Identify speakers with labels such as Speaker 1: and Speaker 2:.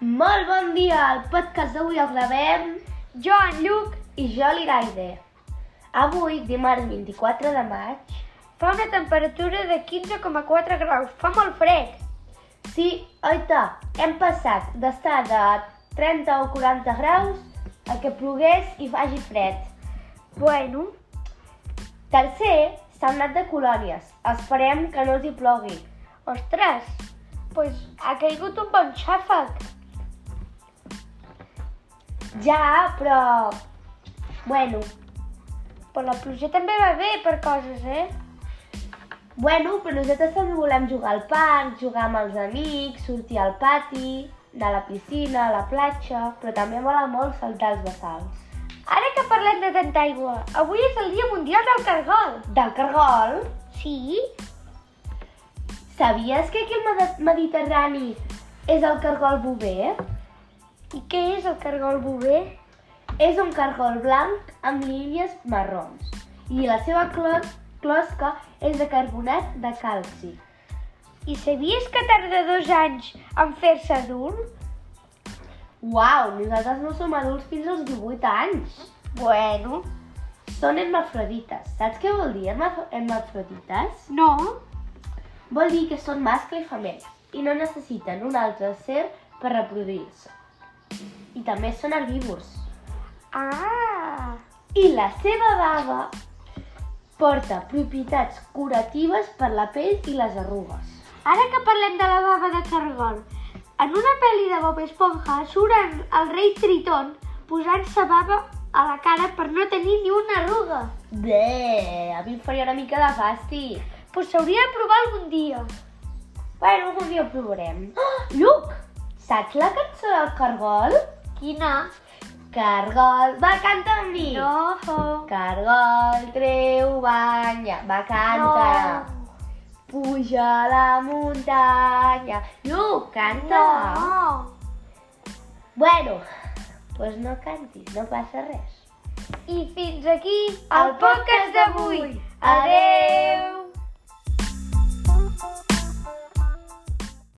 Speaker 1: Molt bon dia! El podcast d'avui el gravem
Speaker 2: Jo, en Lluc,
Speaker 1: i jo l'Iraide. Avui, dimarts 24 de maig,
Speaker 2: fa una temperatura de 15,4 graus. Fa molt fred.
Speaker 1: sí, oita, hem passat d'estar de 30 o 40 graus a que plogués i faci fred.
Speaker 2: Bueno,
Speaker 1: Tercer, s'ha anat de colònies. Esperem que no els hi plogui.
Speaker 2: ostres, pues ha caigut un bon xàfec.
Speaker 1: Ja, però... Bueno,
Speaker 2: Però la pluja també va bé per coses, eh?
Speaker 1: bueno, però nosaltres també volem jugar al parc, jugar amb els amics, sortir al pati, anar a la piscina, a la platja, però també mola molt saltar els bassals.
Speaker 2: Ara que parlem de tanta aigua, avui és el Dia Mundial del Cargol.
Speaker 1: Del cargol,
Speaker 2: Sí?
Speaker 1: sabies que aquí al Medi- Mediterrani és el cargol bover?
Speaker 2: I què és el cargol bover?
Speaker 1: És un cargol blanc amb línies marrons i la seva clo- closca és de carbonat de calci.
Speaker 2: I sabies que tarda dos anys en fer-se adult?
Speaker 1: Uau, nosaltres no som adults fins als 18 anys.
Speaker 2: Bueno,
Speaker 1: Són hermafrodites. Saps què vol dir hermaf- hermafrodites?
Speaker 2: no.
Speaker 1: Vol dir que són mascle i femella i no necessiten un altre ser per reproduir-se. I també són herbívors.
Speaker 2: Ah,
Speaker 1: i la seva bava porta propietats curatives per la pell i les arrugues.
Speaker 2: Ara que parlem de la bava de cargol, en una pel·li de Bob Esponja surt en el rei Triton posant-se bava a la cara per no tenir ni una arruga.
Speaker 1: Bé, a mi em faria una mica de fàstic.
Speaker 2: Pues s'hauria de provar algun dia.
Speaker 1: Bueno, algun dia ho provarem. Oh, Lluc, saps la cançó del Cargol?
Speaker 2: Quina?
Speaker 1: Cargol, va, canta amb mi.
Speaker 2: No.
Speaker 1: Cargol, treu banya, va, canta. Puja a la muntanya. Lluc, canta.
Speaker 2: No.
Speaker 1: Bueno, doncs no cantis, no passa res.
Speaker 2: I fins aquí
Speaker 1: El
Speaker 2: el
Speaker 1: podcast
Speaker 2: podcast d'avui.
Speaker 1: d'avui.
Speaker 2: Adeu.